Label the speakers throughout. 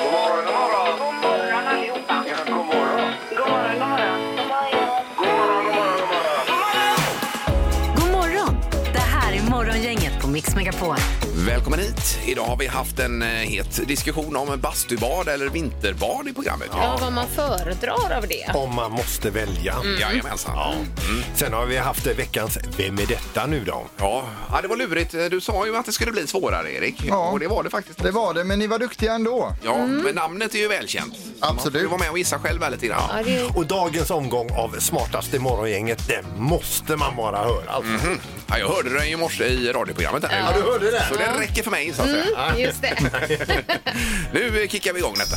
Speaker 1: God morgon, god morgon. God morgon allihopa. Ja, god morgon. God morgon, god morgon. God morgon, god morgon, god morgon.
Speaker 2: God morgon! Det här är Morgongänget på Mix Megapol.
Speaker 3: Välkommen hit! Idag har vi haft en eh, het diskussion om bastubad eller vinterbad i programmet.
Speaker 4: Ja, vad man föredrar av det.
Speaker 5: Om man måste välja.
Speaker 3: Jajamensan. Ja. Mm.
Speaker 5: Sen har vi haft veckans Vem är detta nu då?
Speaker 3: Ja. ja, det var lurigt. Du sa ju att det skulle bli svårare, Erik.
Speaker 6: Ja.
Speaker 3: Och det var det faktiskt.
Speaker 6: Det var det, men ni var duktiga ändå.
Speaker 3: Ja, men namnet är ju välkänt.
Speaker 6: Absolut.
Speaker 3: Du var med och gissa själv här lite grann.
Speaker 4: Ja, det är
Speaker 5: Och dagens omgång av Smartaste morgongänget, den måste man bara höra. Alltså.
Speaker 3: Ja, jag hörde den ju i morse i radioprogrammet. Här.
Speaker 5: Ja, du hörde det?
Speaker 3: Så det räcker för mig, så att säga.
Speaker 4: just det.
Speaker 3: Nu eh, kickar vi igång detta.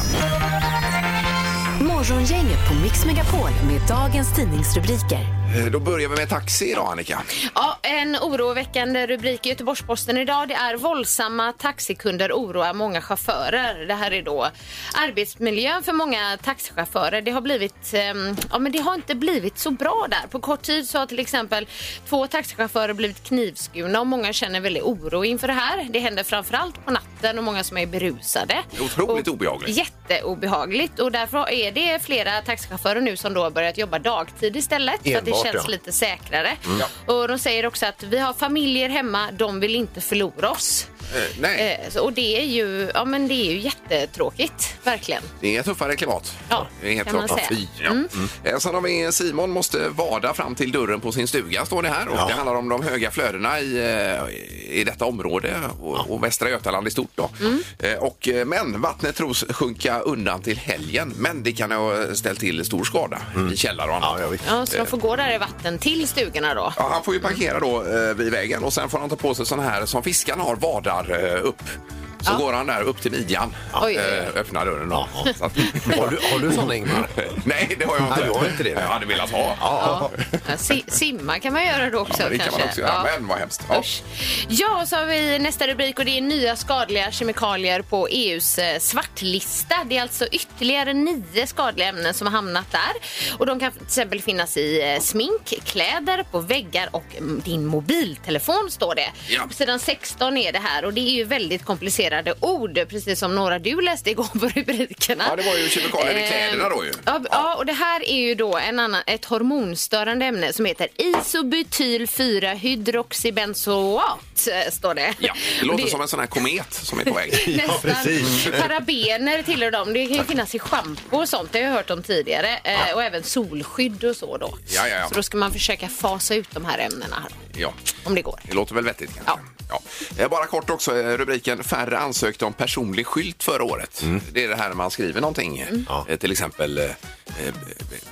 Speaker 2: Morgongänget på Mix Megapol med dagens tidningsrubriker.
Speaker 3: Eh, Då börjar vi med taxi idag, Annika.
Speaker 4: Ja, en oroväckande rubrik i Göteborgs-Posten idag. Det är våldsamma taxikunder oroar många chaufförer. Det här är då arbetsmiljön för många taxichaufförer. Det har blivit, ehm, ja men det har inte blivit så bra där. På kort tid så har till exempel två taxichaufförer blivit knivskurna och många känner väldigt oro inför det här. Det händer framförallt på natten och många som är berusade.
Speaker 3: Otroligt
Speaker 4: Och-
Speaker 3: obehagligt.
Speaker 4: Jätteobehagligt och därför är det flera taxichaufförer nu som då har börjat jobba dagtid istället. så att det
Speaker 5: Enbart,
Speaker 4: känns
Speaker 5: ja.
Speaker 4: lite säkrare.
Speaker 3: Mm.
Speaker 4: Och de säger också att vi har familjer hemma, de vill inte förlora oss.
Speaker 3: Eh, nej,
Speaker 4: Eh, så- och det är ju, ja men det är ju jättetråkigt, verkligen.
Speaker 3: det är ett tuffare klimat.
Speaker 4: Ja,
Speaker 3: det är helt
Speaker 4: kan man
Speaker 3: klart.
Speaker 4: säga.
Speaker 3: Ja. Mm. Eh, Sen har vi Simon måste vada fram till dörren på sin stuga, står det här. Och
Speaker 5: Ja.
Speaker 3: Det handlar om de höga flödena i, eh, i detta område och, och Västra Götaland i stort. Då.
Speaker 4: Mm.
Speaker 3: Eh, Och, eh, men vattnet tros sjunka undan till helgen, men det kan ha ställt till stor skada i källare och annat.
Speaker 5: Mm. Ja, jag vet.
Speaker 4: Ja, så de får gå där i vatten till stugorna då.
Speaker 3: Eh. Ja, han får ju parkera då eh, vid vägen och sen får han ta på sig såna här som fiskarna har, vadar eh, upp. Så går han där upp till midjan,
Speaker 4: Oj, oj, oj.
Speaker 3: eh, öppnar dörren. Och, så att,
Speaker 5: Har du, har du såna Ingmar?
Speaker 3: nej, det har jag inte.
Speaker 5: Nej, du har inte det.
Speaker 3: Jag hade velat ha. Ja,
Speaker 4: Ja. Si simma kan man göra då också
Speaker 3: det kan
Speaker 4: kanske.
Speaker 3: man också göra,
Speaker 4: Ja.
Speaker 3: men vad hemskt. Ja.
Speaker 4: Usch. Ja, så har vi nästa rubrik och det är nya skadliga kemikalier på EUs eh, svartlista. Det är alltså ytterligare nio skadliga ämnen som har hamnat där. Och de kan till exempel finnas i eh, smink, kläder, på väggar och mm, din mobiltelefon står det.
Speaker 3: Ja.
Speaker 4: På sidan 16 är det här och det är ju väldigt komplicerade ord, precis som några du läste igår på rubrikerna.
Speaker 3: Ja, det var ju kemikalier i
Speaker 4: Eh,
Speaker 3: kläderna då ju.
Speaker 4: Ja, b- ja, och det här är ju då en annan, ett hormonstörande ämne som heter isobutyl 4 hydroxybenzoat, eh, står det.
Speaker 3: Ja, det låter
Speaker 4: Och
Speaker 3: som en sån här komet som är på väg.
Speaker 4: Nästan.
Speaker 5: precis.
Speaker 4: Parabener tillhör dem. Det kan ju finnas i schampo och sånt. Det har jag hört om tidigare. Eh, Och även solskydd och så då.
Speaker 3: Ja, ja, ja.
Speaker 4: Så då ska man försöka fasa ut de här ämnena här,
Speaker 3: Ja.
Speaker 4: om det går.
Speaker 3: Det låter väl vettigt kanske. Ja. Eh, Bara kort också, eh, rubriken Färre ansökte om personlig skylt förra året. Det är det här när man skriver någonting,
Speaker 5: Mm. Ja.
Speaker 3: Eh, till exempel eh, eh,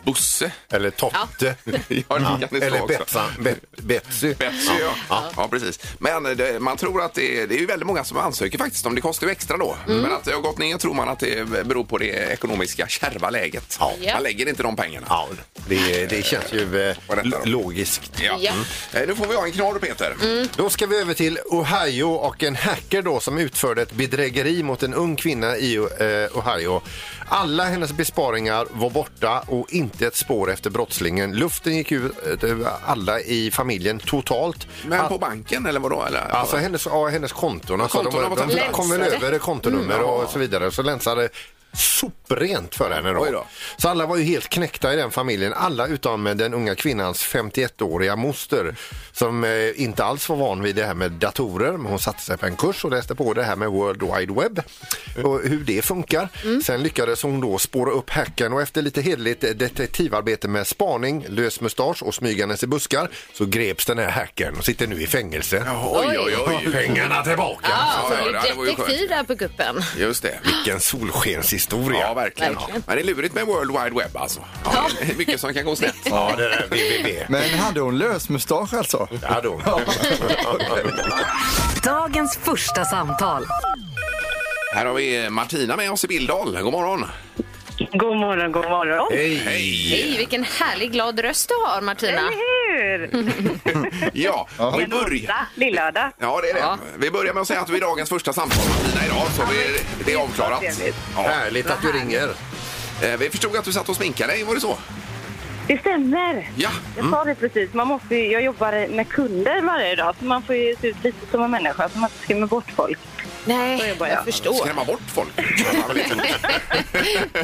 Speaker 3: Bosse.
Speaker 5: Eller Totte?
Speaker 3: Ja, det kan det stå
Speaker 5: Eller
Speaker 3: också.
Speaker 5: Betsa, Bet, Betsy?
Speaker 3: Betsy, ja. Ja. precis. Men eh, det, man tror att det, det är ju väldigt många som ansöker faktiskt om det kostar ju extra då. Men att det har gått ner tror man att det beror på det ekonomiska kärva läget.
Speaker 5: Ja.
Speaker 4: Ja.
Speaker 3: Man lägger inte de pengarna.
Speaker 5: Ja, det, det känns ju eh,
Speaker 3: Vad är detta då?
Speaker 5: logiskt.
Speaker 3: Ja.
Speaker 4: Ja.
Speaker 3: Mm. Eh, Nu får vi ha en knorr Peter.
Speaker 5: Då ska vi över till Ohio och en hacker då som utförde ett bedrägeri mot en ung kvinna i eh, Ohio. Alla hennes besparingar var borta och inte ett spår efter brottslingen. Luften gick ut över alla i familjen totalt.
Speaker 3: Men
Speaker 5: Att-
Speaker 3: på banken eller vadå? Eller?
Speaker 5: Alltså hennes, ja, hennes konton. Alltså,
Speaker 3: Kontona var
Speaker 5: de, de,
Speaker 3: tagna.
Speaker 5: de kom väl
Speaker 4: Länsade.
Speaker 5: över kontonummer och så vidare. Så länsade soprent för henne
Speaker 3: Oj
Speaker 5: då.
Speaker 3: då.
Speaker 5: Så alla var ju helt knäckta i den familjen. Alla utom den unga kvinnans 51-åriga moster som eh, inte alls var van vid det här med datorer. Men hon satte sig på en kurs och läste på det här med World Wide Web och hur det funkar. Sen lyckades hon då spåra upp hacken och efter lite hederligt detektivarbete med spaning, lös mustasch och smygandes i buskar så greps den här hacken och sitter nu i fängelse.
Speaker 3: Oj, oj, oj.
Speaker 5: Pengarna tillbaka!
Speaker 4: Ja, så
Speaker 3: ja,
Speaker 4: det
Speaker 3: ja, det var
Speaker 4: är
Speaker 3: ju
Speaker 4: detektiv
Speaker 3: skönt.
Speaker 4: där på kuppen.
Speaker 3: Just det.
Speaker 5: Vilken solskenshistoria!
Speaker 3: Ja, verkligen.
Speaker 4: Verkligen.
Speaker 3: Men det är lurigt med World Wide Web alltså. Ja. det är Mycket som kan gå snett.
Speaker 5: Ja, det där www.
Speaker 6: Men hade hon lösmustasch alltså?
Speaker 5: Ja, då.
Speaker 2: Dagens första samtal.
Speaker 3: Här har vi Martina med oss i Billdal. God morgon.
Speaker 7: God morgon, god morgon.
Speaker 5: Hej!
Speaker 3: Hej!
Speaker 4: Hej, vilken härlig glad röst du har Martina.
Speaker 7: Eller hur? hur?
Speaker 3: Ja, och vi
Speaker 7: En
Speaker 3: börjar.
Speaker 7: onsdag, lillördag.
Speaker 3: Ja, det är det. Vi börjar med att säga att vi är dagens första samtal med Tina idag, så vi, det är avklarat.
Speaker 7: trevligt.
Speaker 3: Ja.
Speaker 5: Härligt att du ringer.
Speaker 3: Eh, Vi förstod att du satt och sminkade dig, var det så?
Speaker 7: Det stämmer.
Speaker 3: Ja.
Speaker 7: Jag sa det precis. Man måste ju, jag jobbar med kunder varje dag, så man får ju se ut lite som en människa så man inte skrämmer bort folk. Så
Speaker 4: Nej,
Speaker 7: jobbar
Speaker 4: jag
Speaker 7: jag.
Speaker 4: förstår.
Speaker 3: Skrämma bort folk. gör man väl inte.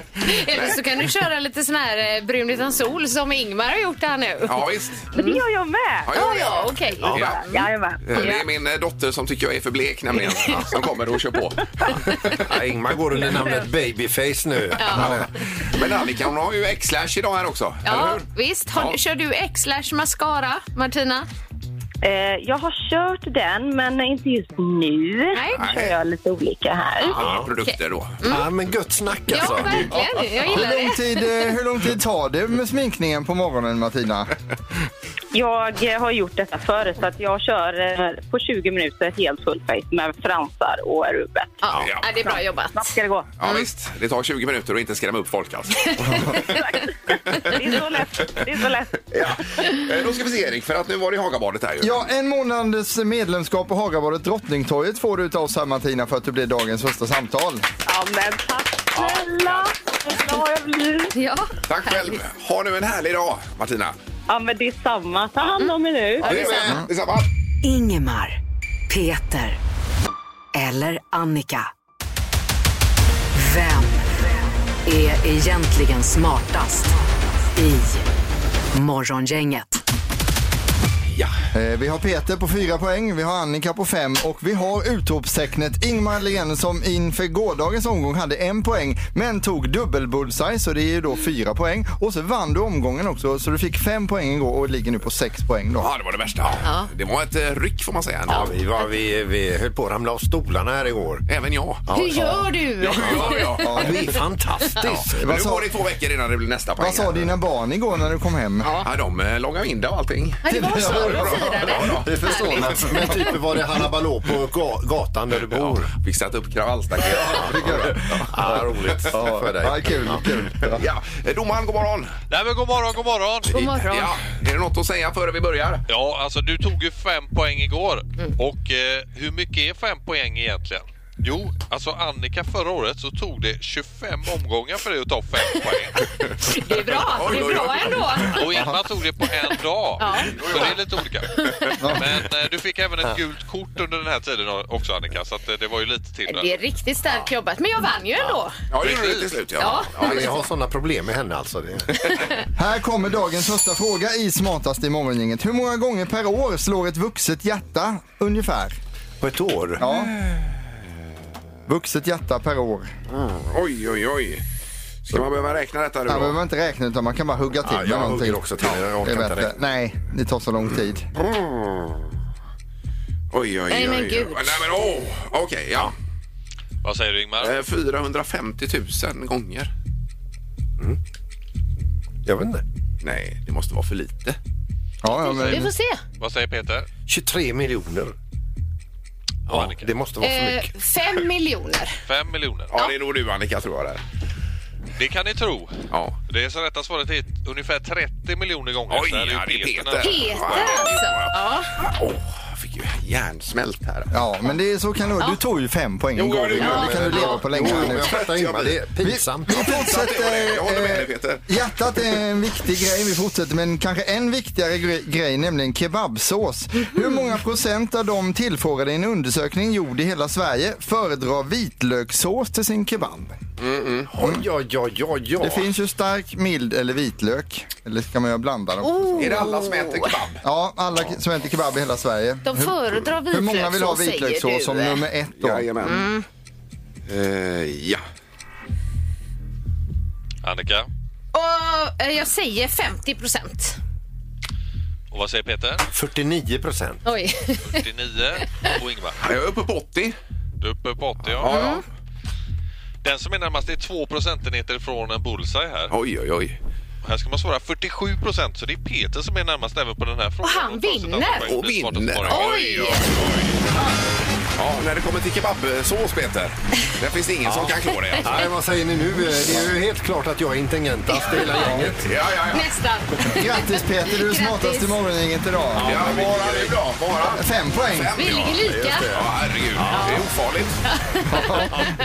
Speaker 4: Eller så kan du köra lite sån här eh, brun utan sol som Ingmar har gjort här nu.
Speaker 3: Ja, visst.
Speaker 7: Men det gör jag med!
Speaker 3: Ja,
Speaker 4: Ja, ja, okej.
Speaker 3: Ja.
Speaker 7: Jajamän.
Speaker 3: Eh, Det är min eh, dotter som tycker jag är för blek nämligen, som kommer och kör på.
Speaker 5: Ja, Ingmar går under namnet Babyface nu.
Speaker 3: Men Annika, hon har ju X-Lash idag här också, eller
Speaker 4: Ja,
Speaker 3: hur?
Speaker 4: visst. Har,
Speaker 3: Ja.
Speaker 4: Kör du X-lash mascara, Martina?
Speaker 7: Eh, jag har kört den, men inte just nu.
Speaker 4: Nej.
Speaker 7: Nu kör jag lite olika här.
Speaker 3: Alla produkter då.
Speaker 5: Ja, men gött snack
Speaker 4: Ja,
Speaker 5: alltså.
Speaker 4: verkligen. Jag gillar
Speaker 6: Hur lång,
Speaker 4: det.
Speaker 6: tid, eh, hur lång tid tar det med sminkningen på morgonen, Martina?
Speaker 7: Jag eh, har gjort detta förr, så att jag kör eh, på 20 minuter ett helt full face med fransar och rubbet.
Speaker 4: Ja,
Speaker 3: Ja.
Speaker 4: ja, det är bra jobbat.
Speaker 7: Snabbt ska det gå.
Speaker 3: Ja, visst. Det tar 20 minuter och inte skrämma upp folk alltså.
Speaker 7: Det är så lätt. Det är så lätt.
Speaker 3: Ja. Eh, Då ska vi se Erik, för att nu var det Hagabadet här ju.
Speaker 6: Ja, en månads medlemskap på Hagabadet Drottningtorget får du utav oss här Martina för att du blir dagens första samtal.
Speaker 7: Ja, men tack snälla! Vad har jag blivit?
Speaker 4: Ja.
Speaker 3: Tack själv. Ha nu en härlig dag, Martina.
Speaker 7: Ja, men det är samma. Ta hand om er nu.
Speaker 3: Du med. Detsamma.
Speaker 2: Ingemar, Peter eller Annika. Vem är egentligen smartast i Morgongänget?
Speaker 3: Ja.
Speaker 6: Eh, Vi har Peter på fyra poäng, vi har Annika på fem och vi har utropstecknet Ingmar Len som inför gårdagens omgång hade en poäng men tog dubbelbullseye så det är ju då fyra poäng. Och så vann du omgången också så du fick fem poäng igår och ligger nu på sex poäng då.
Speaker 3: Ja, det var det värsta. Det var ett eh, ryck får man säga.
Speaker 5: Ja, vi, var, vi, vi höll på att ramla av stolarna här igår.
Speaker 3: Även jag.
Speaker 4: Hur gör du?
Speaker 3: Ja, ja, ja.
Speaker 5: Ja, du är fantastisk.
Speaker 3: Men nu
Speaker 6: Vad sa-
Speaker 3: går det två veckor innan det blir nästa poäng.
Speaker 6: Vad sa dina barn igår när du kom hem?
Speaker 3: Ja, de eh, långade middag och allting.
Speaker 4: Ja, det var så de firade.
Speaker 5: Det förstår man. Men typ var det Halabaloo på ga- gatan där du
Speaker 3: Ja,
Speaker 5: bor.
Speaker 3: fixat upp kravallstaket.
Speaker 5: Ja, vad roligt för dig.
Speaker 6: Ja, kul, kul. Ja.
Speaker 3: Ja, eh, domaren, god morgon.
Speaker 1: Nej, men god morgon, god morgon.
Speaker 4: God morgon.
Speaker 3: Ja, är det något att säga före vi börjar?
Speaker 1: Ja, alltså du tog ju fem poäng igår.
Speaker 5: Mm.
Speaker 1: Och eh, hur mycket är fem poäng egentligen? Jo, alltså Annika förra året så tog det 25 omgångar för dig att ta fem poäng.
Speaker 4: Det är bra. Det är bra ändå.
Speaker 1: Och Ingmar tog det på en dag.
Speaker 4: Ja.
Speaker 1: Så det är lite olika. Men eh, du fick även ett gult kort under den här tiden också Annika, så att, eh, det var ju lite till
Speaker 4: Det är
Speaker 1: där.
Speaker 4: riktigt starkt jobbat. Men jag vann ju ändå.
Speaker 3: Ja, det gjorde du till slut. Ja.
Speaker 5: Ja, men jag har sådana problem med henne alltså. Det.
Speaker 6: Här kommer dagens första fråga i Smartast i morgongänget. Hur många gånger per år slår ett vuxet hjärta ungefär?
Speaker 5: På ett år?
Speaker 6: Ja. Vuxet hjärta per år.
Speaker 3: Oj, oj, oj. Ska man behöva räkna detta nu
Speaker 6: Man behöver
Speaker 3: då?
Speaker 6: inte räkna utan man kan bara hugga till
Speaker 5: Ja, jag
Speaker 6: med någonting.
Speaker 5: hugger också till. Jag
Speaker 6: Det är
Speaker 5: orkar inte
Speaker 6: bättre.
Speaker 5: räkna.
Speaker 6: Nej, det tar så lång tid.
Speaker 3: Oj, oj, oj.
Speaker 4: Nej, men
Speaker 3: oj.
Speaker 4: gud.
Speaker 3: Nej, men åh. Okej, ja.
Speaker 1: Vad säger du Ingmar?
Speaker 3: Eh, 450 000 gånger.
Speaker 5: Jag vet inte.
Speaker 3: Nej, det måste vara för lite.
Speaker 6: Ja, ja,
Speaker 4: Vi
Speaker 6: men...
Speaker 4: får se.
Speaker 1: Vad säger Peter?
Speaker 5: 23 miljoner.
Speaker 1: Och
Speaker 5: Ja,
Speaker 1: Annika?
Speaker 5: det måste vara för
Speaker 4: Eh,
Speaker 5: mycket.
Speaker 4: fem miljoner.
Speaker 1: Fem miljoner.
Speaker 3: Ja, det är nog du Annika tror jag där.
Speaker 1: Det kan ni tro.
Speaker 3: Ja.
Speaker 1: Det är så rätta svaret är ungefär 30 miljoner gånger.
Speaker 3: Oj,
Speaker 1: Så här
Speaker 3: ja, det är Peter.
Speaker 4: Peter alltså. Ja.
Speaker 3: Åh, jag fick ju hjärnsmält här.
Speaker 6: Ja, men det är så kan det vara. Du tog ju fem poäng
Speaker 3: Jo,
Speaker 6: igår.
Speaker 3: det gjorde jag.
Speaker 6: Det kan du leva på länge
Speaker 5: Jo,
Speaker 6: här
Speaker 5: men
Speaker 6: nu.
Speaker 5: jag fattar Ingmar, det är pinsamt.
Speaker 6: Vi fortsätter.
Speaker 3: Jag håller med dig,
Speaker 6: eh,
Speaker 3: Peter.
Speaker 6: Hjärtat är en viktig grej. Vi fortsätter med en kanske än viktigare gre- grej, nämligen kebabsås.
Speaker 4: Mhm.
Speaker 6: Hur många procent av de tillfrågade i en undersökning gjord i hela Sverige föredrar vitlökssås till sin kebab?
Speaker 5: Oj, oj, oj, oj,
Speaker 6: Det
Speaker 5: oj.
Speaker 6: finns ju stark, mild eller vitlök. Eller ska man göra blanda dem?
Speaker 4: Oh.
Speaker 3: Är det alla som äter kebab?
Speaker 6: Ja, alla ke- som äter kebab i hela Sverige.
Speaker 4: De
Speaker 6: Hur-
Speaker 4: föredrar
Speaker 6: Hur många vill ha
Speaker 4: vitlökssås, säger du.
Speaker 6: vitlökssås som nummer ett då?
Speaker 3: Jajamän.
Speaker 4: Mm.
Speaker 3: Eh, ja.
Speaker 1: Annika?
Speaker 4: Och, eh, jag säger 50 procent.
Speaker 1: Och vad säger Peter?
Speaker 5: 49 procent.
Speaker 4: Oj.
Speaker 1: 49. Och Ingmar?
Speaker 3: Jag är uppe på 80.
Speaker 1: Du är uppe på 80, ja.
Speaker 3: Ja,
Speaker 4: Mm.
Speaker 3: ja.
Speaker 1: Den som är närmast är 2 procentenheter från en bullseye här.
Speaker 3: Oj, oj, oj.
Speaker 1: Här ska man svara 47 procent, så det är Peter som är närmast även på den här frågan.
Speaker 4: han
Speaker 1: tar sitt
Speaker 4: vinner.
Speaker 1: andra poäng.
Speaker 3: Och
Speaker 1: Det är svaret
Speaker 3: vinner.
Speaker 1: svarar.
Speaker 4: Oj.
Speaker 3: Ja, när det kommer till kebabsås, Peter, där finns det ingen som kan klå det. alltså.
Speaker 5: Nej, vad säger ni nu? Det är ju helt klart att jag är intelligentast i hela gänget.
Speaker 3: Ja, ja, ja.
Speaker 4: Nästan.
Speaker 6: Grattis Peter, du är smartast i morgongänget idag.
Speaker 3: Ja, bara nu då. Bara.
Speaker 6: Fem poäng.
Speaker 3: Fem,
Speaker 4: Vi
Speaker 3: ja.
Speaker 4: ligger lika.
Speaker 3: Ja, herregud. Det är ofarligt.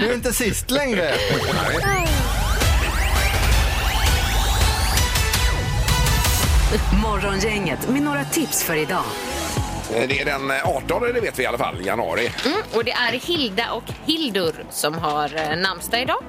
Speaker 6: Du är inte sist längre.
Speaker 2: Morgongänget med några tips för idag.
Speaker 3: Eh, Det är den eh, 18, det vet vi i alla fall, januari.
Speaker 4: Och det är Hilda och Hildur som har eh, namnsdag idag.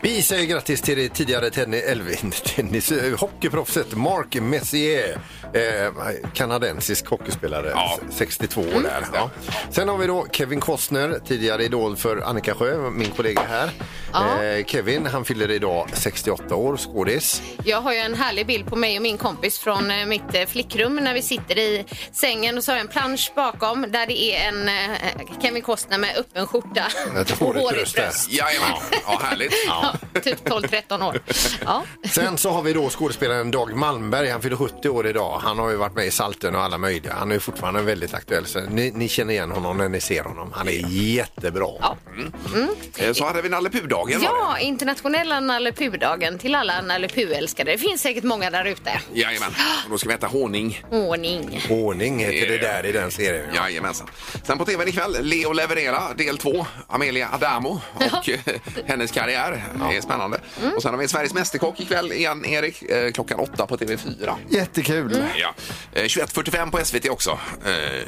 Speaker 5: Vi säger grattis till det tidigare tennis, eller, tennis, eh, hockeyproffset Mark Messier. Eh, kanadensisk hockeyspelare,
Speaker 3: Ja.
Speaker 5: 62 år där. Ja. Sen har vi då Kevin Costner, tidigare idol för Annika Sjö, min kollega här.
Speaker 4: Ja.
Speaker 5: Eh, Kevin, han fyller idag 68 år, skådis.
Speaker 4: Jag har ju en härlig bild på mig och min kompis från eh, mitt eh, flickrum när vi sitter i sängen och så har jag en plansch bakom där det är en eh, Kevin Costner med öppen skjorta
Speaker 5: Ett
Speaker 4: och
Speaker 5: hårigt bröst där.
Speaker 3: Jajamän. Ja, härligt.
Speaker 4: Ja, typ 12-13 år. Ja.
Speaker 5: Sen så har vi då skådespelaren Dag Malmberg, han fyller 70 år idag. Han har ju varit med i Salten och alla möjliga. Han är ju fortfarande väldigt aktuell, så ni, ni känner igen honom när ni ser honom. Han är jättebra.
Speaker 3: Eh, Så hade vi Nalle Puh-dagen. var
Speaker 4: ja, internationella Nalle Puh-dagen till alla Nalle Puh-älskare. Det finns säkert många där ute.
Speaker 3: det. Jajamän. Och Då ska vi äta honung. Eh,
Speaker 4: Ordning.
Speaker 5: Ordning heter det där i den serien. Ja.
Speaker 3: Jajamensan. Sen på tvn ikväll, Leo leverera del 2. Amelia Adamo och eh, hennes karriär. Det är spännande.
Speaker 4: Mm.
Speaker 3: Och sen har vi Sveriges Mästerkock ikväll igen, Erik. eh, Klockan 8 på TV4.
Speaker 6: Jättekul.
Speaker 4: Mm.
Speaker 3: Ja. Eh, 21.45 på SVT också. Eh,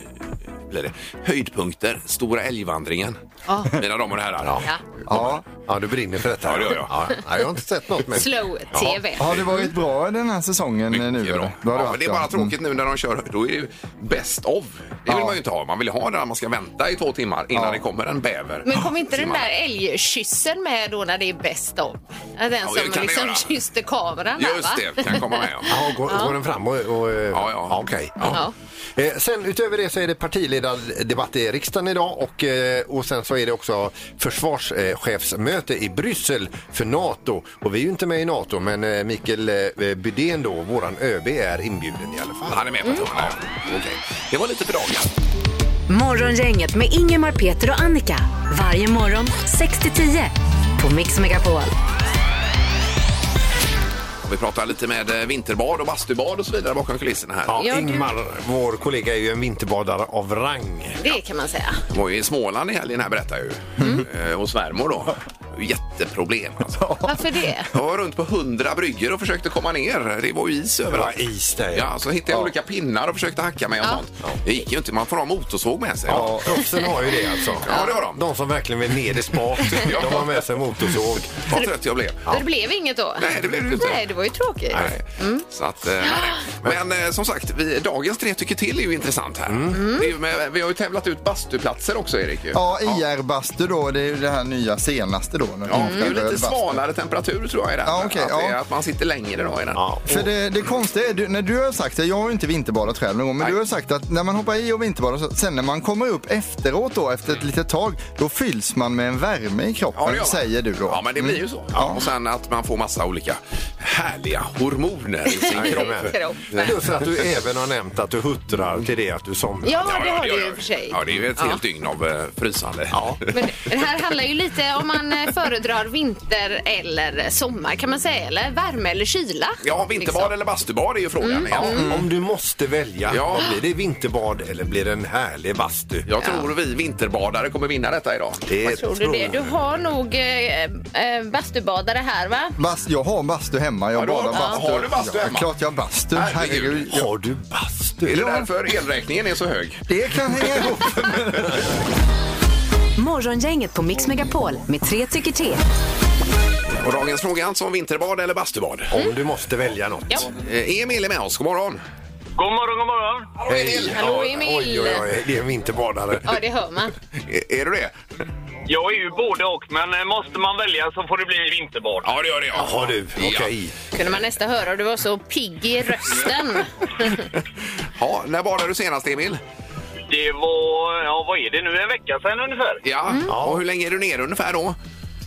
Speaker 3: blir det. Höjdpunkter, Stora älgvandringen.
Speaker 4: Ja.
Speaker 3: Mina damer och herrar.
Speaker 4: Ja.
Speaker 6: Ja.
Speaker 5: Ja, du brinner för detta.
Speaker 3: Ja, det gör jag.
Speaker 5: Ja, nej, jag har inte sett något. Men...
Speaker 4: Slow-tv.
Speaker 6: Har du varit bra den här säsongen eh,
Speaker 3: Mycket
Speaker 6: nu?
Speaker 3: bra.
Speaker 6: eller? Vad har du
Speaker 3: Ja, men
Speaker 6: haft,
Speaker 3: det är
Speaker 6: ja?
Speaker 3: bara
Speaker 6: Mm.
Speaker 3: tråkigt nu när de kör. Då är det ju best of. Det vill
Speaker 6: Ja.
Speaker 3: man ju inte ha. Man vill ju ha det där man ska vänta i två timmar innan det kommer en bäver.
Speaker 4: Men kom inte den
Speaker 3: Simmar.
Speaker 4: där älgkyssen med då när det är bäst av? Den
Speaker 3: det kan
Speaker 4: som
Speaker 3: det
Speaker 4: liksom
Speaker 3: göra.
Speaker 4: kysste kameran där, va?
Speaker 3: Just det, kan komma med. ja.
Speaker 5: Ja, går, går den fram och... och eh,
Speaker 3: Ja, ja.
Speaker 5: okej.
Speaker 4: Ja.
Speaker 5: Eh, sen utöver det så är det partiledardebatt i riksdagen idag och, eh, och sen så är det också försvarschefsmöte i Bryssel för NATO. Och vi är ju inte med i NATO men eh, Mikael eh, Bydén då, våran ÖB, är inbjuden i alla fall.
Speaker 3: Han är med på mm. ja. Okej. Det var lite för dagen.
Speaker 2: Morgongänget med Ingemar, Peter och Annika. Varje morgon 6 till 10 på Mix Megapol.
Speaker 3: Vi pratar lite med eh, vinterbad och bastubad och så vidare bakom kulisserna här.
Speaker 5: Ja,
Speaker 4: Ja, du-
Speaker 5: Ingmar, vår kollega, är ju en vinterbadare av rang.
Speaker 4: Det kan man säga.
Speaker 3: Det var ju i Småland i helgen här berättar jag ju. Eh, Och svärmor då. Jätteproblem alltså.
Speaker 4: Varför det?
Speaker 3: Jag var runt på hundra bryggor och försökte komma ner. Det var ju is överallt.
Speaker 5: is där.
Speaker 3: Ja, så hittade jag olika pinnar och försökte hacka mig och sånt. Det gick ju inte, man får ha motorsåg med sig.
Speaker 5: Ja, proffsen har ju det alltså.
Speaker 3: Ja, det har de.
Speaker 5: De som verkligen vill ner i spat,
Speaker 3: Ja.
Speaker 5: de har med sig motorsåg.
Speaker 3: Vad trött jag blev.
Speaker 4: Det blev inget då?
Speaker 3: Nej, det blev det inte.
Speaker 4: Nej, det var ju tråkigt.
Speaker 3: Nej. Så att, eh, nej, nej. Men eh, som sagt, vi, dagens tre tycker till är ju intressant här. Det är ju med, vi har ju tävlat ut bastuplatser också, Erik. ju.
Speaker 6: Ja, IR-bastu då, det är ju det här nya senaste då. när
Speaker 3: Ja,
Speaker 6: man
Speaker 3: Det är ju
Speaker 6: röd
Speaker 3: lite
Speaker 6: bastu.
Speaker 3: svalare temperatur tror jag i den.
Speaker 6: Ja, okej,
Speaker 3: att, det är
Speaker 6: ja.
Speaker 3: att man sitter längre då i den.
Speaker 5: Ja.
Speaker 6: För det, det konstiga är, du, när du har sagt det, jag har ju inte vinterbadat själv någon gång, men
Speaker 3: Nej.
Speaker 6: du har sagt att när man hoppar i och vinterbadar, så, sen när man kommer upp efteråt då, efter ett litet tag, då fylls man med en värme i
Speaker 3: Ja, det
Speaker 6: kroppen,
Speaker 3: gör man.
Speaker 6: säger du då. Mm.
Speaker 3: Ja, men det blir ju så. Ja. Och sen att man får massa olika härliga hormoner i sin kropp.
Speaker 4: Kropp.
Speaker 5: Plus att du även har nämnt att du huttrar till det att du somnar.
Speaker 4: Ja, det har
Speaker 3: gör
Speaker 4: du ju i
Speaker 3: jag.
Speaker 4: och för sig.
Speaker 3: Ja, det är ju ett
Speaker 4: Ja.
Speaker 3: helt dygn av eh, frysande. Ja.
Speaker 4: Men det här handlar ju lite om man eh, föredrar vinter eller sommar kan man säga, eller värme eller kyla.
Speaker 3: Ja, vinterbad
Speaker 4: Liksom. Mm.
Speaker 3: eller bastubad är ju frågan.
Speaker 5: Ja,
Speaker 3: egentligen.
Speaker 5: Om du måste välja,
Speaker 3: Ja.
Speaker 5: blir det vinterbad eller blir det en härlig bastu?
Speaker 3: Jag tror vi vinterbadare kommer vinna detta idag.
Speaker 5: Det
Speaker 4: Liksom. Tror du det? Du har nog eh, eh, bastubadare här va?
Speaker 6: Bast, jag har bastu hemma, jag
Speaker 3: Ja, du har-
Speaker 6: badar bastu.
Speaker 3: har du bastu hemma?
Speaker 6: Ja, klart jag har bastu.
Speaker 3: Herregud.
Speaker 6: Herregud. jag-
Speaker 5: Har du bastu?
Speaker 3: Är det därför elräkningen är så hög?
Speaker 6: Det kan hänga ihop.
Speaker 2: Morgongänget på Mix Megapol med tre tycker till.
Speaker 3: Och dagens fråga är alltså om vinterbad eller bastubad.
Speaker 5: Om du måste välja något.
Speaker 4: Ja.
Speaker 3: Eh, Emil är med oss, god morgon.
Speaker 7: God morgon, god morgon.
Speaker 5: Hej.
Speaker 4: Hallå,
Speaker 5: Ja,
Speaker 4: Emil.
Speaker 5: Oj, oj, oj, det är en vinterbadare.
Speaker 4: Ja, det hör man.
Speaker 3: Är, är du det?
Speaker 7: Jag är ju både och, men eh, måste man välja så får det bli vinterbad.
Speaker 3: Ja, det gör det jag.
Speaker 5: Har du? Okej.
Speaker 4: Kunde man nästan höra, du var så pigg i rösten.
Speaker 3: Ja. Ja, när badade du senast Emil?
Speaker 7: Det var, ja vad är det nu, en vecka sedan ungefär?
Speaker 3: Mm. Ja. ja. Och hur länge är du nere ungefär då?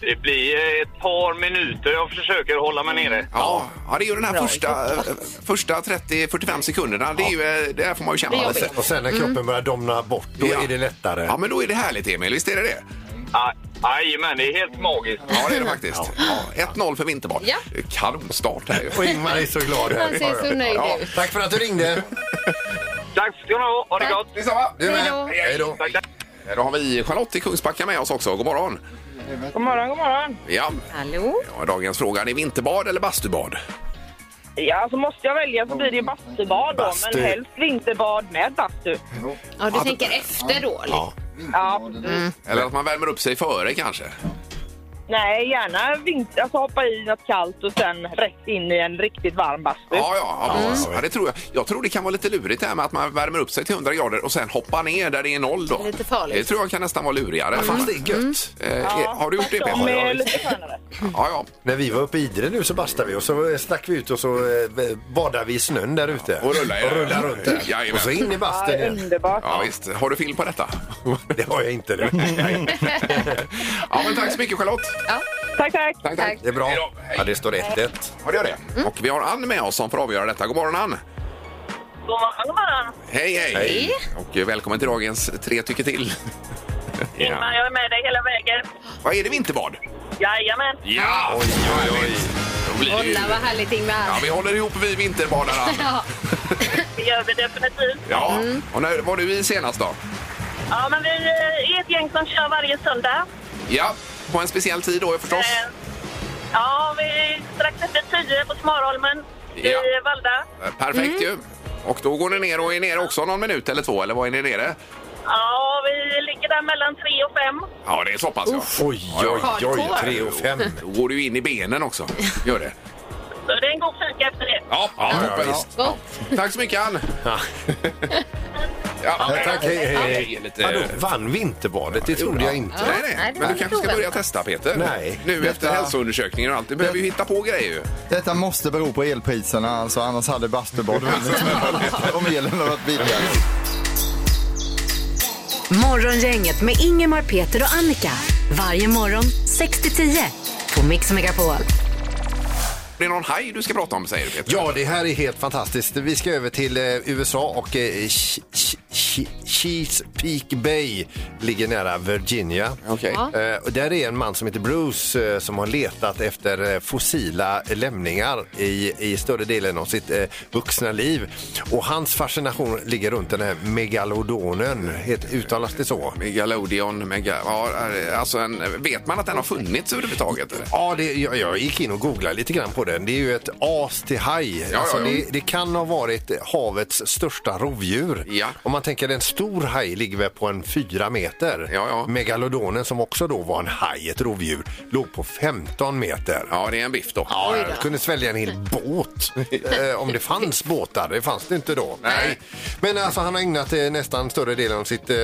Speaker 8: Det blir eh, ett par minuter jag försöker hålla mig nere.
Speaker 3: Ja, ja, det är ju den här första, eh, första 30-45 sekunderna. Det är ju, eh, där får man
Speaker 4: Det
Speaker 3: ju känna
Speaker 4: är
Speaker 3: lite.
Speaker 4: jobbigt.
Speaker 5: Och sen när kroppen
Speaker 4: Mm.
Speaker 5: börjar domna bort, då
Speaker 3: Ja.
Speaker 5: är det lättare.
Speaker 3: Ja, men då är det härligt, Emil. Visst är det det?
Speaker 8: Ah, Jajamän, det är helt magiskt.
Speaker 3: Ja, det är det faktiskt. Ja, 1-0 för Vinterborg.
Speaker 4: Ja.
Speaker 3: Kanonstart här ju.
Speaker 5: Och Ingmar är så glad. här.
Speaker 4: Han ser så nöjd Mm.
Speaker 5: Ja,
Speaker 4: ut.
Speaker 5: tack för att du ringde.
Speaker 8: Tack ska ni ha. Ha det gott!
Speaker 3: Detsamma.
Speaker 5: Du
Speaker 4: Hej då.
Speaker 5: med. Hej då.
Speaker 8: Tack, tack.
Speaker 3: Då har vi Charlotte i Kungsbacka med oss också. God morgon.
Speaker 7: God morgon, god morgon.
Speaker 3: Ja,
Speaker 4: Hallå?
Speaker 3: ja, dagens fråga. Är det vinterbad eller bastubad?
Speaker 7: Ja, alltså måste jag välja så blir det ju bastubad då,
Speaker 5: Bastu.
Speaker 7: men helst vinterbad med bastu.
Speaker 4: Ja, du tänker efter då? Liksom.
Speaker 7: Ja, absolut.
Speaker 3: Eller att man värmer upp sig före kanske?
Speaker 7: Nej, gärna vinter, alltså hoppa i något kallt och sen rätt in i en riktigt varm bastu.
Speaker 3: Ja, ja, ja, precis. ja det tror jag. Jag tror det kan vara lite lurigt det här med att man värmer upp sig till 100 grader och sen hoppar ner där det är noll då.
Speaker 4: Lite farligt.
Speaker 3: Det tror jag kan nästan vara lurigare. Fast det är gött.
Speaker 4: Mm.
Speaker 3: Eh, är- Har du gjort det, Peter?
Speaker 7: Som är
Speaker 3: Ja,
Speaker 7: lite skönare.
Speaker 3: ja.
Speaker 5: När vi var uppe i Idre nu så bastade vi och så eh, stack vi ut och så eh, badade vi i snön där ute.
Speaker 3: Och rulla, ja.
Speaker 5: och rulla runt där.
Speaker 3: Jajamän.
Speaker 5: Och så in i
Speaker 7: Ja,
Speaker 5: bastun igen.
Speaker 7: underbart.
Speaker 3: Ja, visst. Har du film på detta?
Speaker 5: Det har jag inte nu.
Speaker 3: Ja, men tack så mycket, Charlotte.
Speaker 7: Tack, tack.
Speaker 3: Tack, tack.
Speaker 5: Det
Speaker 3: Hej
Speaker 5: är bra.
Speaker 3: då. Hej.
Speaker 5: Ja, det står Mm. 1-1.
Speaker 3: Ja, det gör det. Och vi har Ann med oss som får avgöra detta. God morgon, Ann!
Speaker 7: God morgon, god morgon.
Speaker 3: Hej, hej!
Speaker 5: Hej.
Speaker 3: Och eh, välkommen till dagens Tre tycker till.
Speaker 7: Ingmar, jag är med dig hela vägen.
Speaker 3: Vad är det vinterbad?
Speaker 7: Jajamän.
Speaker 3: Ja! Oj, oj, oj! Då blir det ju...
Speaker 4: Kolla vad härligt
Speaker 3: Ja,
Speaker 4: Ingmar.
Speaker 3: vi håller ihop vi vinterbadare, Ann.
Speaker 4: Ja,
Speaker 7: Det gör vi definitivt.
Speaker 3: Ja.
Speaker 4: Mm.
Speaker 3: Och när var du i senast då?
Speaker 7: Ja, men vi eh, är ett gäng som kör varje söndag.
Speaker 3: Ja, på en speciell tid då förstås.
Speaker 7: Eh, Ja, vi är strax efter tio på Smarholmen
Speaker 3: Ja.
Speaker 7: i Valda.
Speaker 3: Eh,
Speaker 4: Mm.
Speaker 3: Perfekt ju. Och då går ni ner och är nere också någon minut eller två, eller vad är ni nere?
Speaker 7: Ja, vi ligger där mellan tre och fem.
Speaker 3: Ja, det är så pass ja.
Speaker 5: Oj, oj, oj. 3 och 5.
Speaker 3: Då går du ju in i benen också. Gör det.
Speaker 7: Så det är en god fika efter det.
Speaker 3: Ja, ja, ja, visst.
Speaker 4: gott.
Speaker 3: Tack så mycket, Ann!
Speaker 5: Ja.
Speaker 3: Ja,
Speaker 5: tack, hej, hej, hej.
Speaker 3: Lite...
Speaker 5: Ja, då vann vinterbadet, det trodde jag inte.
Speaker 3: nej, nej.
Speaker 4: nej, det var
Speaker 3: Men
Speaker 4: lite
Speaker 3: du kanske ska
Speaker 4: oväntat.
Speaker 3: börja testa, Peter?
Speaker 5: Nej.
Speaker 3: Nu efter hälsoundersökningen och allt. Du behöver ju hitta på grejer ju.
Speaker 6: Detta måste bero på elpriserna, alltså, annars hade bastubad vunnit om elen hade varit billigare.
Speaker 2: Morgongänget med Ingemar, Peter och Annika. Varje morgon 6 till 10 på Mix Megapol.
Speaker 3: Det är någon haj du ska prata om, säger du, Peter.
Speaker 5: Ja, det här är helt fantastiskt. Vi ska över till eh, USA och eh, Ch- Ch- Ch- Chesapeake Bay ligger nära Virginia.
Speaker 3: Okej.
Speaker 5: Eh, och där är en man som heter Bruce eh, som har letat efter eh, fossila lämningar i, i större delen av sitt eh, vuxna liv. Och hans fascination ligger runt den här megalodonen. Het- Uttalas det så?
Speaker 3: Megalodion, mega... Ja, alltså en... Vet man att den har funnits överhuvudtaget? Eller?
Speaker 5: Ja, det, jag, jag gick in och googlade lite grann på den. Det är ju ett as till haj.
Speaker 3: ja,
Speaker 5: alltså,
Speaker 3: ja.
Speaker 5: Det, det kan ha varit havets största rovdjur.
Speaker 3: Ja.
Speaker 5: Om man tänker en stor haj ligger väl på en fyra meter.
Speaker 3: Ja, ja.
Speaker 5: Megalodonen som också då var en haj, ett rovdjur, låg på 15 meter.
Speaker 3: Ja, det är en biff då.
Speaker 5: Ja, jag kunde svälja en hel båt. eh, om det fanns båtar, det fanns det inte då.
Speaker 3: Nej.
Speaker 5: Men alltså han har ägnat eh, nästan större delen av sitt eh,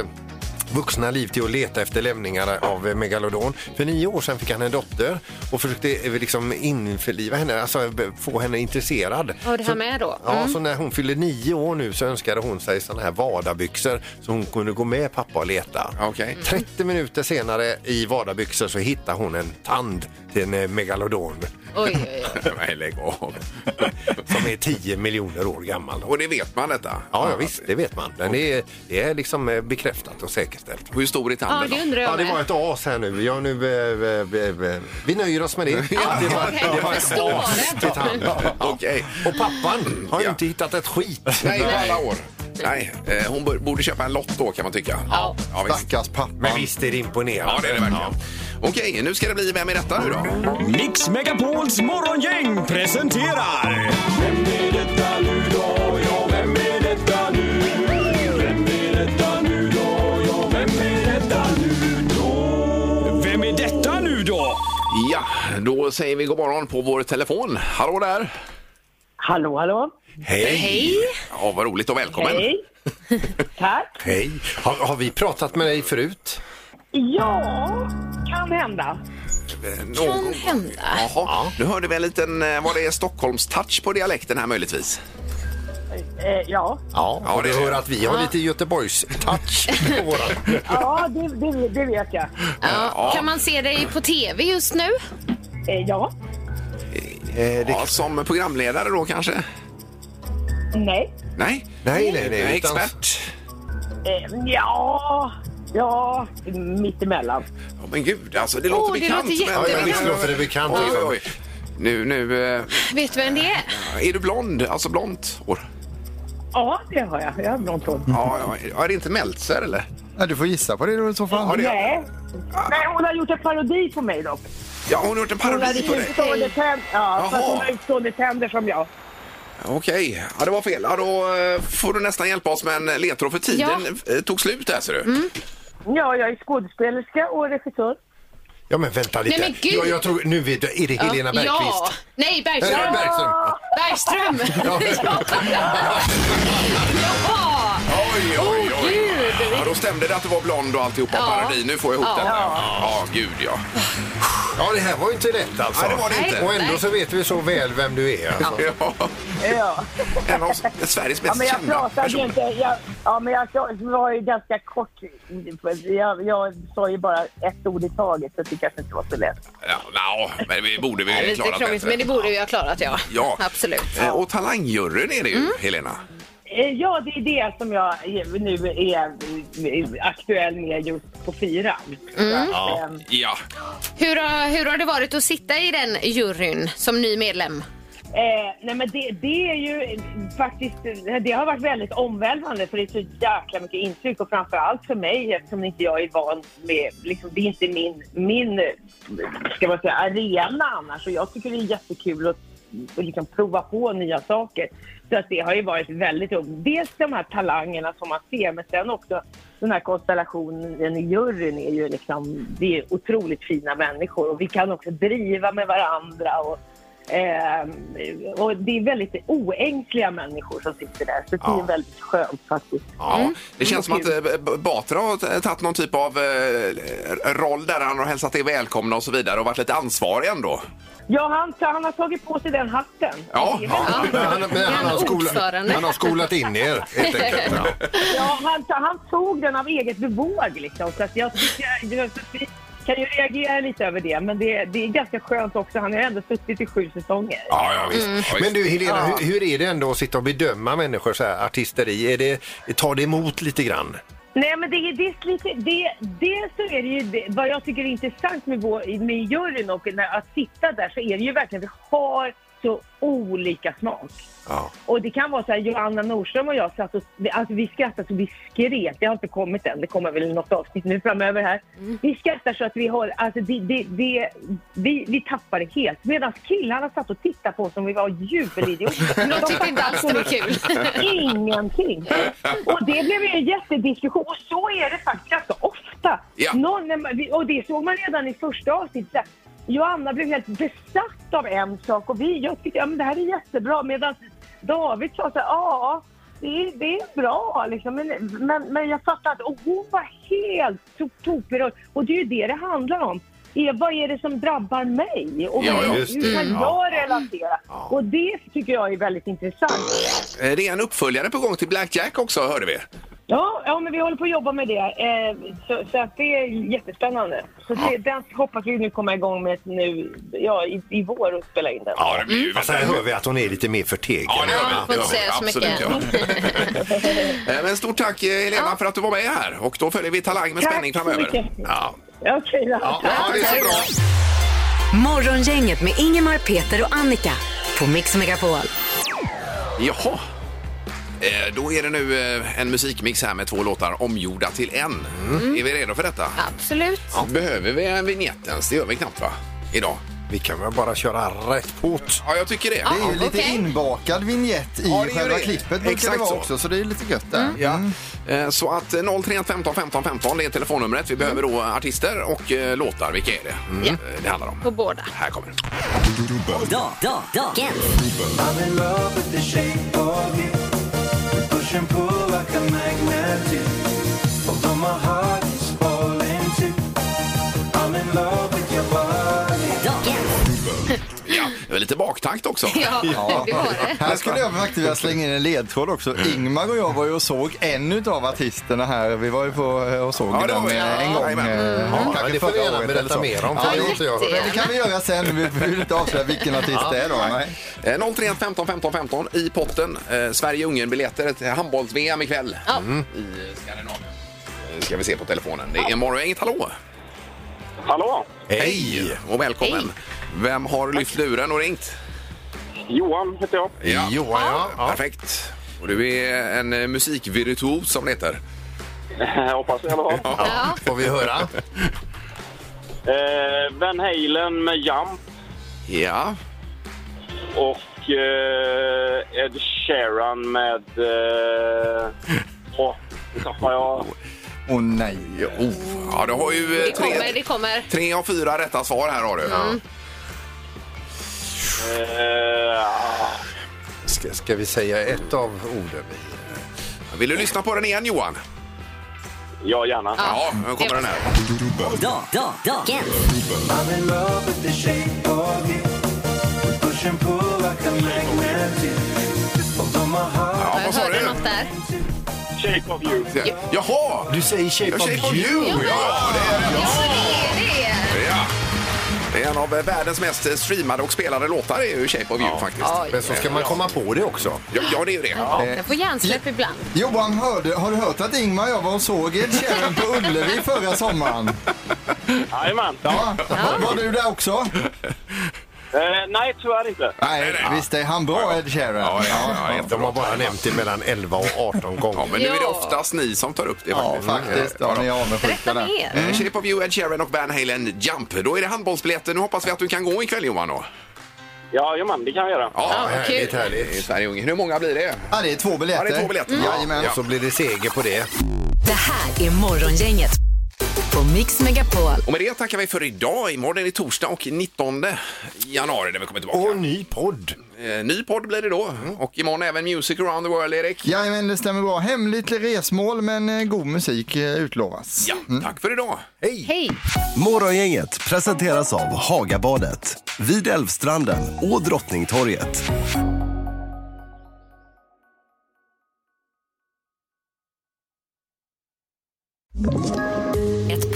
Speaker 5: vuxna liv till att leta efter lämningar av eh, megalodon. För nio år sedan fick han en dotter och försökte eh, liksom införliva henne, alltså eh, få henne intresserad.
Speaker 4: Ja, det här
Speaker 5: Så-
Speaker 4: med då. Mm.
Speaker 5: Ja, så när hon fyllde nio år nu så önskade hon sig sådana här Wada-byxor så hon kunde gå med pappa och leta.
Speaker 3: Okej.
Speaker 5: 30 minuter senare i Wada-byxor så hittade hon en tand till en eh, megalodon
Speaker 4: Oj, oj, oj.
Speaker 3: Nej, lägg av.
Speaker 5: som är 10 miljoner år gammal.
Speaker 3: Och det vet man detta?
Speaker 5: Ja, ja visst, det vet man. Den är, det är liksom eh, bekräftat och säkerställt.
Speaker 3: Hur stor är
Speaker 4: Ja,
Speaker 3: tanden
Speaker 4: det
Speaker 3: då?
Speaker 4: undrar
Speaker 5: Ja,
Speaker 4: jag
Speaker 5: det var
Speaker 4: med.
Speaker 5: ett as här nu. Ja, nu eh, eh, eh, vi nöjer oss med det. det var,
Speaker 4: okej. Så var det.
Speaker 5: till tand. Ja.
Speaker 3: Okej.
Speaker 5: Och pappan har ju
Speaker 3: Ja.
Speaker 5: inte hittat ett skit.
Speaker 3: Nej, på alla år. Nej, eh, hon bör- borde köpa en lott då kan man tycka. Ja, ja visst.
Speaker 6: Stackars pappan.
Speaker 5: Men visst är det imponerande.
Speaker 3: Ja, det är det verkligen. Okej, nu ska det bli Vem är detta nu då?
Speaker 9: Mix Megapols morgongäng presenterar... Vem är detta nu då? Ja, vem är detta nu? Vem är detta nu då? Ja, vem är detta nu då? Vem är detta nu då?
Speaker 3: Ja, då säger vi god morgon på vår telefon. Hallå där!
Speaker 7: Hallå, hallå.
Speaker 5: Hej! Hej!
Speaker 3: Ja, vad roligt och välkommen!
Speaker 7: Hej. Tack.
Speaker 5: Har, har vi pratat med dig förut?
Speaker 7: Ja, kan hända.
Speaker 3: Någon...
Speaker 4: hända.
Speaker 3: eh, Jaha, nu hörde vi en liten, eh, var det Stockholms-touch på dialekten här möjligtvis?
Speaker 7: Eh, ja.
Speaker 5: Ja, och du hör att vi har lite Göteborgs-touch på våran.
Speaker 7: Ja, det, det, det vet jag.
Speaker 4: Ja. Kan man se dig på tv just nu?
Speaker 7: Ja.
Speaker 3: Ja, som programledare då kanske?
Speaker 7: Nej.
Speaker 3: Nej?
Speaker 5: Nej, nej, nej. utan-
Speaker 3: Expert?
Speaker 7: Eh, ja. Ja, mittemellan.
Speaker 3: Ja, men gud, alltså det
Speaker 4: Åh,
Speaker 3: låter
Speaker 4: det
Speaker 3: bekant.
Speaker 4: låter
Speaker 3: men-
Speaker 4: jättebekant. Ja, visst låter det
Speaker 5: bekant,
Speaker 3: Oj,
Speaker 5: liksom.
Speaker 3: oj, oj. Nu, nu. eh,
Speaker 4: Vet du vem det är?
Speaker 3: Är du blond? Alltså blont hår?
Speaker 7: Ja, det har jag. Jag har blont hår.
Speaker 3: Ja, ja. ja. Är det inte Meltzer eller?
Speaker 6: Ja, du får gissa på det då i så fall.
Speaker 7: Nej. Nej, hon har gjort en parodi på mig dock.
Speaker 3: Ja, hon har gjort en
Speaker 7: Hon hade
Speaker 3: parodi på dig.
Speaker 7: utstående tänder. Ja, för att
Speaker 3: Jaha.
Speaker 7: hon har utstående tänder som jag.
Speaker 3: Okej, ja, det var fel. Ja, då eh, får du nästan hjälpa oss med en ledtråd för tiden eh, tog slut där ser du.
Speaker 7: Ja, jag är skådespelerska och regissör.
Speaker 5: Ja, men vänta lite.
Speaker 4: Nej, men gud.
Speaker 5: Jag, jag tror, nu vet jag, är det Helena
Speaker 4: Ja.
Speaker 5: Bergqvist?
Speaker 4: Nej,
Speaker 5: Eller
Speaker 4: Bergström.
Speaker 5: Bergström.
Speaker 4: Bergström! Ja! ja.
Speaker 3: Oj, oj,
Speaker 4: Åh,
Speaker 3: oj.
Speaker 4: gud.
Speaker 3: Ja, då stämde det att du var blond och alltihopa
Speaker 4: Ja.
Speaker 3: parodi. Nu får jag ihop
Speaker 4: Ja.
Speaker 3: den. här. Ja, gud ja.
Speaker 5: Ja, det här var ju inte rätt alltså.
Speaker 3: Nej, det var det inte.
Speaker 5: Och ändå så vet vi så väl vem du är. Alltså.
Speaker 3: Ja.
Speaker 7: Ja.
Speaker 3: En av Sveriges
Speaker 7: Ja,
Speaker 3: mest
Speaker 7: men jag
Speaker 3: kända
Speaker 7: pratade ju
Speaker 3: personer.
Speaker 7: inte. Jag, ja, men jag sa- var ju ganska kort. Jag, jag sa ju bara ett ord i taget, så det kanske inte var så lätt.
Speaker 3: Ja, no, men vi borde
Speaker 4: Det är
Speaker 3: vi
Speaker 4: Lite
Speaker 3: klarat
Speaker 4: krångligt,
Speaker 3: bättre.
Speaker 4: men det borde vi ha klarat, ja.
Speaker 3: Ja.
Speaker 4: Absolut. Mm.
Speaker 3: Eh, Och talangjuryn är det ju, Helena.
Speaker 7: Eh, Ja, det är det som jag nu är eh, aktuell med just på fyran.
Speaker 4: Mm.
Speaker 7: Så att, ehm,
Speaker 3: Ja.
Speaker 4: Hur har, hur har det varit att sitta i den juryn som ny medlem?
Speaker 7: Eh, nej men det, det är ju eh, faktiskt, det har varit väldigt omvälvande för det är så jäkla mycket intryck och framförallt för mig eftersom inte jag är van med, liksom, det är inte min, min eh, ska man säga, arena annars och jag tycker det är jättekul att och liksom prova på nya saker. Så att det har ju varit väldigt roligt. Dels de här talangerna som man ser men sen också den här konstellationen i juryn är ju liksom, det är otroligt fina människor och vi kan också driva med varandra och Eh, och det är väldigt oängsliga människor som sitter där, så det
Speaker 3: Ja.
Speaker 7: är väldigt skönt faktiskt.
Speaker 3: Ja, det känns som att eh, B- Batra har t- tagit någon typ av eh, roll där han har hälsat er välkomna och så vidare och varit lite ansvarig ändå.
Speaker 7: Ja, han, han har tagit på sig den hatten.
Speaker 3: Ja,
Speaker 7: Det är
Speaker 3: ja.
Speaker 4: Ja.
Speaker 7: väldigt-
Speaker 5: Men han, men han, har skola,
Speaker 4: Ordförande.
Speaker 5: han har skolat in er helt enkelt. Ja.
Speaker 7: ja han, han tog den av eget bevåg liksom. Så att jag tycker, vi kan ju reagera lite över det, men det, det är ganska skönt också. Han har ju ändå suttit i sju säsonger.
Speaker 3: Ja, ja
Speaker 7: Mm.
Speaker 3: visst. Ja, visst.
Speaker 5: Men du Helena, hur, hur är det ändå att sitta och bedöma människor så här, artisteri? Är det, tar det emot lite grann?
Speaker 7: Nej, men det är det, är lite, det, det så är det ju det, vad jag tycker är intressant med, vår, med juryn och när, att sitta där så är det ju verkligen, vi har så olika smak.
Speaker 5: Ja.
Speaker 7: Och det kan vara så här, Johanna Nordström och jag satt och, alltså vi skrattar så vi skrek. Det har inte kommit än, det kommer väl i något avsnitt nu framöver här. Vi skrattar så att vi har, alltså det, det, det, vi, vi tappar det helt. Medan killarna satt och tittade på oss som vi var jubelidioter.
Speaker 4: De tyckte inte alls det var kul.
Speaker 7: Ingenting. Och det blev ju en jättediskussion. Och så är det faktiskt ganska ofta.
Speaker 3: Ja.
Speaker 7: Någon, när man- och det såg man redan i första avsnittet. där Joanna blev helt besatt av en sak och vi, jag tyckte ja, men det här är jättebra. Medan David sa så här, ja, det är, det är bra liksom. Men, men, men jag fattade att och hon var helt to- tokberörd. Och det är ju det det handlar om. Är, vad är det som drabbar mig? Och
Speaker 3: Ja,
Speaker 7: vad-
Speaker 3: ja,
Speaker 5: just
Speaker 7: hur
Speaker 5: det.
Speaker 7: kan jag relatera? Och det tycker jag är väldigt intressant.
Speaker 3: Eh, Det är en uppföljare på gång till Blackjack också, hörde vi.
Speaker 7: Ja, ja, men vi håller på att jobba med det. Eh, så så att det är jättespännande. Så det, den hoppas vi nu komma igång med nu, ja, i, i vår och spela in den.
Speaker 3: Ja, det blir ju
Speaker 5: Alltså här hör vi att hon är lite mer förtegen.
Speaker 3: Mm. Ja, det gör vi.
Speaker 4: Ja, får
Speaker 3: Det gör
Speaker 4: inte säga så
Speaker 3: vi. Absolut, ja. Eh, Men stort tack eh, Helena för att du var med här och då följer vi Talang med
Speaker 7: Tack
Speaker 3: spänning
Speaker 7: så mycket.
Speaker 3: framöver. Ja.
Speaker 7: Okej då.
Speaker 3: Ja, ja, det är så bra.
Speaker 2: Morgongänget med Ingemar, Peter och Annika på Mix Megapol.
Speaker 3: Jaha. Eh, Då är det nu eh, en musikmix här med två låtar omgjorda till en.
Speaker 7: Mm.
Speaker 3: Är vi redo för detta?
Speaker 4: Absolut.
Speaker 3: Behöver vi en vignett ens? Det gör vi knappt va? Idag?
Speaker 5: Vi kan väl bara köra rätt fort.
Speaker 3: Ja, jag tycker det.
Speaker 6: Det är ju lite
Speaker 4: Okej.
Speaker 6: inbakad vignett i
Speaker 3: Ja, det är ju
Speaker 6: själva
Speaker 3: det.
Speaker 6: klippet brukar
Speaker 3: Exakt
Speaker 6: det vara
Speaker 3: så.
Speaker 6: också, så det är lite gött där. Mm.
Speaker 3: Ja. Eh, Så att eh, 031 15 15 15 det är telefonnumret. Vi behöver då artister och eh, låtar. Vilka är det
Speaker 4: Ja.
Speaker 3: Eh, det handlar om?
Speaker 4: På båda.
Speaker 3: Här kommer det.
Speaker 10: Dag, dag, dag.
Speaker 3: Ja, det var lite lite baktankt också.
Speaker 4: Ja, det var det.
Speaker 6: Här skulle jag faktiskt vilja slänga in en ledtråd också. Ingmar och jag var ju och såg en av artisterna här. Vi var ju på och såg
Speaker 5: Ja, det
Speaker 6: dem
Speaker 5: var vi.
Speaker 6: eh, en gång.
Speaker 5: Jajamän.
Speaker 6: eh,
Speaker 5: Mm. Ja, det får du gärna berätta
Speaker 6: eller så.
Speaker 5: mer om, för
Speaker 6: Ja,
Speaker 5: det har inte jag hört.
Speaker 6: men det kan vi göra sen. Vi vill inte avslöja vilken artist det är då. nej.
Speaker 3: Eh, 031 15 15 15 i potten. Eh, Sverige-Ungern-biljetter till handbolls-VM ikväll
Speaker 4: Ja.
Speaker 3: mm. i Skandinavien. Eh, ska vi se på telefonen. Det är morgon. Inget hallå!
Speaker 8: Hallå!
Speaker 3: Hej och välkommen! Vem har lyft luren och ringt?
Speaker 8: Johan heter jag.
Speaker 3: Ja. Johan, ja. Perfekt. Och du är en eh, musikvirtuos som det heter.
Speaker 8: Hoppas jag i alla fall.
Speaker 4: Ja.
Speaker 5: Får vi höra?
Speaker 8: Eh, Van Halen med Jump
Speaker 3: Ja.
Speaker 8: och eh, Ed Sheeran med... Eh, åh, nu tappar jag.
Speaker 6: Åh nej.
Speaker 3: Ja, oh. ja, du har ju eh,
Speaker 4: Det kommer, Mm.
Speaker 3: tre,
Speaker 4: det kommer.
Speaker 3: tre av fyra rätta svar här har du.
Speaker 8: Eh, ah,
Speaker 5: Ska, ska vi säga ett av orden?
Speaker 3: Vill du lyssna på den igen Johan?
Speaker 8: ja, gärna.
Speaker 3: Ja, nu kommer den här. Ja,
Speaker 4: Jag
Speaker 3: vad sa
Speaker 4: hörde
Speaker 3: du?
Speaker 4: något där.
Speaker 8: Shape of you.
Speaker 3: Jaha!
Speaker 5: Du säger
Speaker 3: Ja, Shape of you! Ja, det är
Speaker 4: Ja, det är det.
Speaker 3: det. Ja. Det är en av eh, världens mest streamade och spelade låtar är ju Shape of you faktiskt.
Speaker 4: Oj.
Speaker 5: Men så ska man komma på det också.
Speaker 3: Ja, ja, det är ju det.
Speaker 4: Jag får hjärnsläpp ibland.
Speaker 6: Johan, hörde, har du hört att Ingmar och jag var och såg Ed Sheeran på Ullevi förra sommaren?
Speaker 8: Jajamän.
Speaker 6: Ja. Var du där också?
Speaker 8: Eh, nej, tyvärr inte.
Speaker 6: Nej, visst är han bra Ed Sheeran?
Speaker 3: Ja, ja, ja,
Speaker 5: De har bara nämnt det mellan 11 och 18
Speaker 3: ja,
Speaker 5: gånger.
Speaker 3: men nu är det
Speaker 4: Ja.
Speaker 3: oftast ni som tar upp det
Speaker 6: Ja, faktiskt. Ja, ni är avundsjuka
Speaker 4: Berätta
Speaker 6: där.
Speaker 4: mer.
Speaker 3: Eh, Shape of you, Ed Sheeran och Van Halen Jump. Då är det handbollsbiljetter. Nu hoppas vi att du kan gå ikväll Johan då.
Speaker 8: Jajamän, det kan vi göra.
Speaker 4: Ja, vad kul.
Speaker 5: härligt,
Speaker 3: I
Speaker 5: härligt.
Speaker 3: Sverige och Ungern. Hur många blir det?
Speaker 6: Ja, det är två biljetter.
Speaker 3: Ja, det är två biljetter.
Speaker 6: Mm.
Speaker 3: Ja.
Speaker 6: Jajamän.
Speaker 5: Så blir det seger på det.
Speaker 2: Det här är Morgongänget på Mix Megapol.
Speaker 3: Och med det tackar vi för idag. Imorgon är det torsdag och 19 januari när vi kommer tillbaka.
Speaker 5: Och ny podd.
Speaker 3: Eh, Ny podd blir det då. Och imorgon även Music around the world, Erik.
Speaker 6: Jajamän, det stämmer bra. Hemligt resmål, men eh, god musik eh, utlovas.
Speaker 3: Ja, tack för idag.
Speaker 4: Hej!
Speaker 11: Morgongänget presenteras av Hagabadet, vid Älvstranden och Drottningtorget.
Speaker 2: Ett